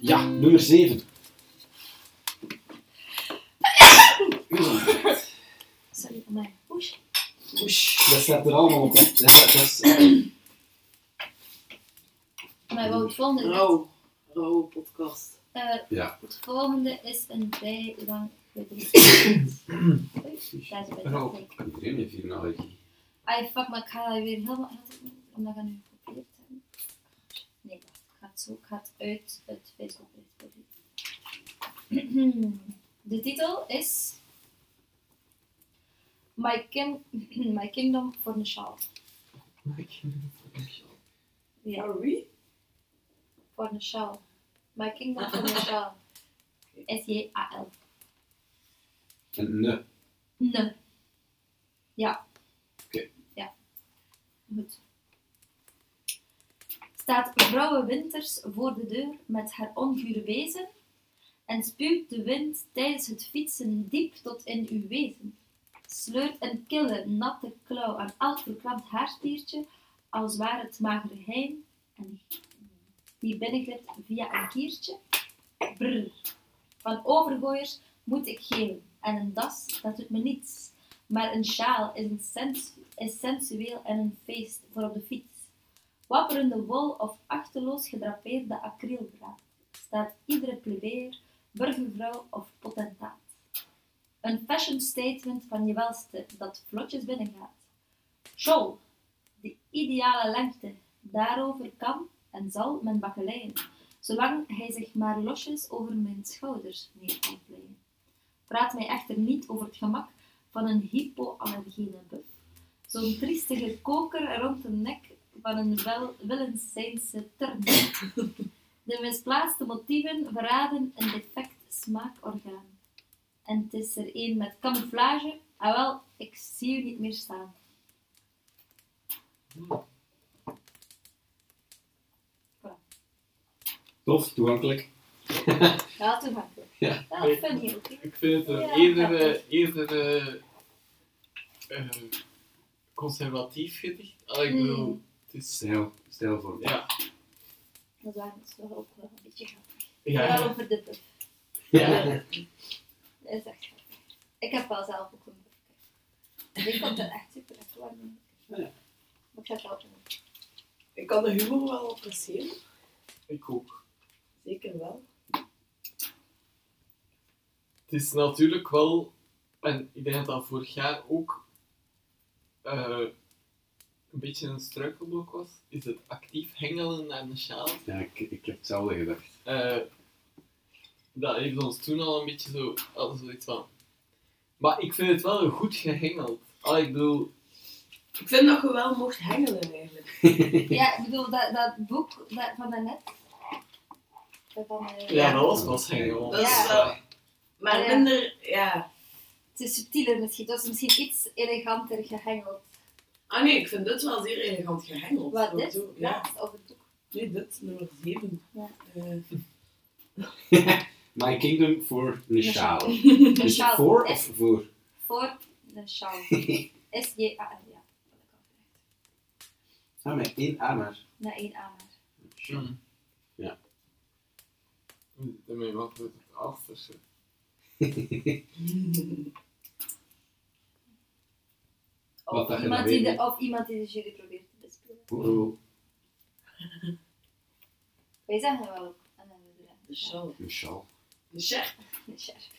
Ja, nummer 7. Sorry, voor mij. Oei. Dat staat er allemaal op. hè. Ja, dat is, eh, Maar wat het volgende is, Rauw. Rauwe podcast. eh, ja. het volgende is een bijrang verdriet. Oei, daar is het bij Rauw. denk ik. Iedereen heeft hier een allergie. Ai, fuck, maar ik ga dat weer helemaal uit omdat ik het nu geprobeerd heb. Nee, wacht, ik ga het zo, ik ga het uit het Facebookbericht proberen. De titel is My, King, My Kingdom for the Shawl. Ja, Sorry? for the Shawl. My Kingdom for E the Shawl. S-J-A-L. En ne. Nee. Ja. Oké. Ja. Goed. Staat vrouwen winters voor de deur met haar ongure wezen en spuwt de wind tijdens het fietsen diep tot in uw wezen. Sleurt een kille, natte klauw aan elk verkrampt haarspiertje als waar het magere heim en die binnenglipt via een kiertje. Brr. Van overgooiers moet ik geven. En een das, dat doet me niets. Maar een sjaal is, een sens is sensueel en een feest voor op de fiets. Wapperende wol of achterloos gedrapeerde acryldraad staat iedere plebeer, burgervrouw of potentaat. Een fashion statement van je welste dat vlotjes binnengaat. Shawl, de ideale lengte, daarover kan en zal men bakkeleien, zolang hij zich maar losjes over mijn schouders neer kan vleien. Praat mij echter niet over het gemak van een hypoallergene buf. Zo'n triestige koker rond de nek van een welwillenscijnse tern. De misplaatste motieven verraden een defect smaakorgaan. En het is er een met camouflage. Ah wel, ik zie u niet meer staan. Tof, toegankelijk. Ja, toegankelijk. Ja. Wel funny, oké. Ik vind het een Ja, eerder, dat eh, eerder eh, eh, conservatief gedicht. Ah, ik bedoel, Mm. het is... Stijl, stijlvorm. Ja. Dat waren we wel ook wel een beetje grappig. Wel Ja. over de buf. ja. Dat is echt grappig. Ik heb wel zelf ook een bufje. Ik vond het echt super echt warm. Ja. Maar ik zet wel op een Ik kan de humor wel appreciëren. Ik ook. Zeker wel. Het is natuurlijk wel... En ik denk dat dat vorig jaar ook eh, een beetje een struikelblok was. Is het actief hengelen naar de sjaal. Ja, ik, ik heb hetzelfde gedacht. Eh, dat heeft ons toen al een beetje zo, al zoiets van. Maar ik vind het wel goed gehengeld. Ah, ik bedoel, Ik vind dat je wel mocht hengelen eigenlijk. Ja, ik bedoel, dat, dat boek dat, van daarnet. Dat van, eh, ja, dat was pas hengelen. Dat is Ja. wel... Maar Ja. minder... Ja. Het is subtieler misschien. Dat is misschien iets eleganter gehengeld. Ah nee, ik vind dit wel zeer elegant gehengeld. Wat Zo, dit? zo, Ja. Ja. Of het boek. Nee, dit, nummer Eh, 7. Ja. My Kingdom voor Nishaal. Dus Nishaal. voor of Is- voor? Voor de sjaal. S-J-A-L, ja. Ah, met één A maar. Na één aanhaar. Ja. Daarmee wat het achterste. Wat dat je Of iemand, dan die weet, de, of iemand die de jury probeert te bespelen. Voor Wij zeggen wel ook. En dan we de show. Nishaal. De chef.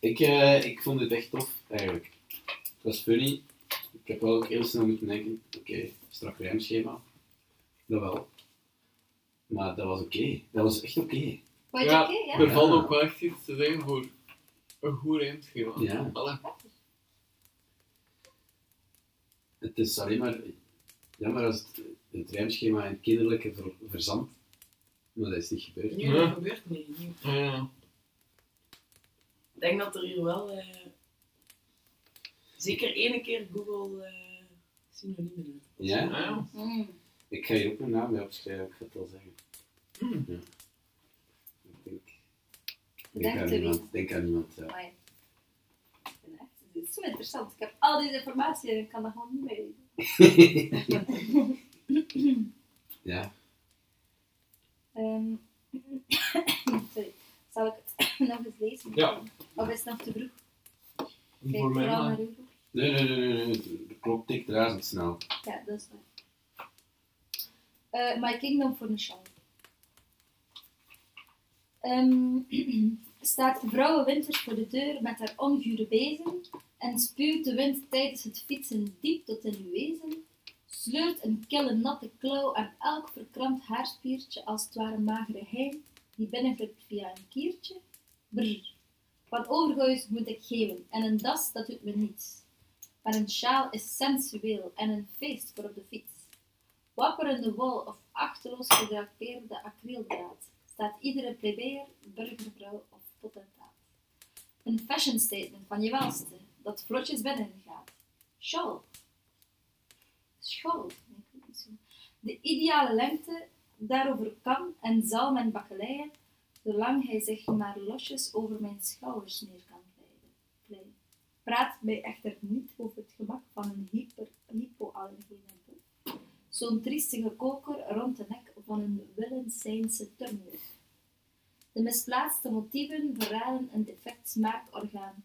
Ik, eh, ik vond het echt tof, eigenlijk. Het was funny. Ik heb wel ook heel snel moeten denken, oké, strak rijmschema. Dat wel. Maar dat was oké. Dat was echt oké. Vond je Ja. het oké? Ja? Er valt ook wel echt iets te zeggen voor een goed rijmschema. Ja. Allee. Het is alleen maar jammer als het, het rijmschema en het kinderlijke ver, verzandt. Maar dat is niet gebeurd. Nee, Ja. dat gebeurt niet. Nee. Ja. Ik denk dat er hier wel... eh, zeker ene keer Google eh synoniemen uit. Ja? Ah, ja. Mm. Ik ga hier ook mijn naam bij opschrijven, ik ga het al zeggen. Mm. Ja. Ik denk, denk, Bedankt, aan Louis. niemand. Denk aan niemand. Ja. Maar ik vind echt, dit is zo interessant. Ik heb al deze informatie en ik kan dat gewoon niet meer weten. Ja. Ehm, sorry. Zal ik het nog eens lezen? Ja. Of is het nog te vroeg? Kijk Voor mij vooral maar. naar uw boek. Nee, nee, nee, nee, nee. De klok tikt razendsnel. Ja, dat is waar. Eh, My Kingdom for Nishan. Ehm staat vrouwen winters voor de deur met haar ongure bezem en spuwt de wind tijdens het fietsen diep tot in uw wezen, sleurt een kille natte klauw aan elk verkrampt haarspiertje als het ware magere hein die binnengript via een kiertje. Brr, wat overgooi moet ik geven en een das dat doet me niets. Maar een sjaal is sensueel en een feest voor op de fiets. Wapperende wol of achterloos gedrapeerde acryldraad staat iedere plebeer, burgervrouw of potentaat. Een fashion statement van je welste, dat vlotjes binnen gaat. Shawl. Shawl. Nee, ik weet niet zo. De ideale lengte, daarover kan en zal mijn bakkeleien, zolang hij zich maar losjes over mijn schouders neer kan glijden- glijden praat mij echter niet over het gemak van een hyper, hypoallergene boef. Zo'n triestige koker rond de nek van een Willensijnse turner. De misplaatste motieven verraden een defect smaakorgaan.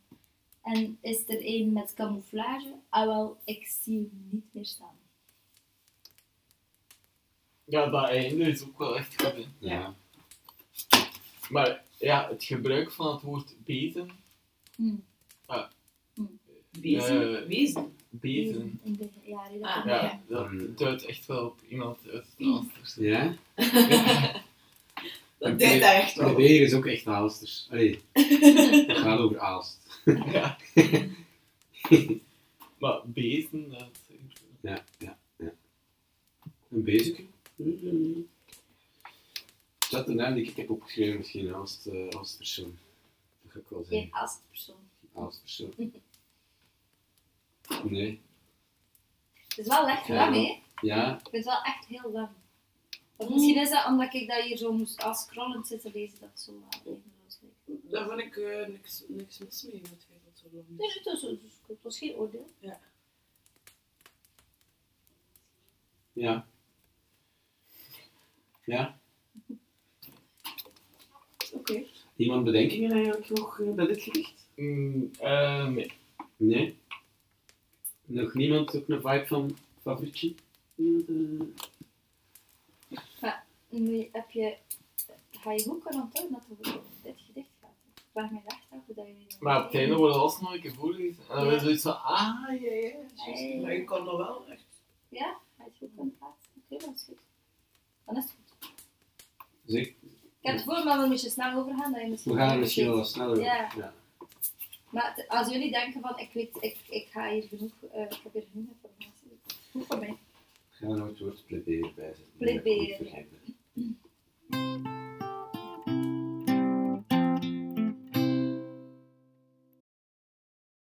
En is er een met camouflage? Ah wel, ik zie hem niet meer staan. Ja, dat einde is ook wel echt goed. Hè. Ja. Ja. Maar ja, het gebruik van het woord bezem. Hm, Wezen? Wezen? Eh, Wezen? Bezen. In de jaren dat- Ah, Ja, ja. dat duidt echt wel op iemand uit het Alsters. Ja? Dat Oké. deed hij echt wel. Beer is ook echt Aalsters. Allee, het gaat over Aalst. Ja. maar bezen, dat is... Ja, ja, ja. Een bezige? Dat is de naam die ik heb opgeschreven misschien, Aalst, eh, Aalstpersoon. Dat ga ik wel zeggen. Geen als persoon. Aalstpersoon. Nee. Het is wel echt Ja. lang, hè? Ja, Het is wel echt heel lang. Want Hm. misschien is dat omdat ik dat hier zo moest als scrollend zitten lezen, dat ik zo eh, laat Daar vond ik eh, niks, niks mis mee met het feit dat zo lang is. Dus het was, het was geen oordeel. ja. Ja. Oké. Iemand bedenkingen eigenlijk nog eh, bij dit gedicht? Mm, eh, nee. Nee. Nog niemand ook een vibe van Fabrici? Nu heb je, eh, ga je goed kunnen onthouden dat het over dit gedicht gaat. Ik vraag me echt af hoe dat je... Maar op het einde wordt alles nog een keer voorgelezen. En dan Ja. weer zoiets van, ah, ja, ja. Hey. Juist. Maar je kan dat wel echt. Ja, ga je het goed kunnen plaatsen. Oké, dat is goed. Dan is het goed. Zeg, Ik heb het voor, maar we moeten snel overgaan. Dat je misschien we gaan er misschien wel wat sneller Ja. ja. Maar het- als jullie denken van, ik weet, ik, ik ga hier genoeg, eh, ik heb hier genoeg informatie. Goed voor mij. Ik ga er nooit het woord pleberen bij zetten. Pleberen, Dat kan ik niet vergeten.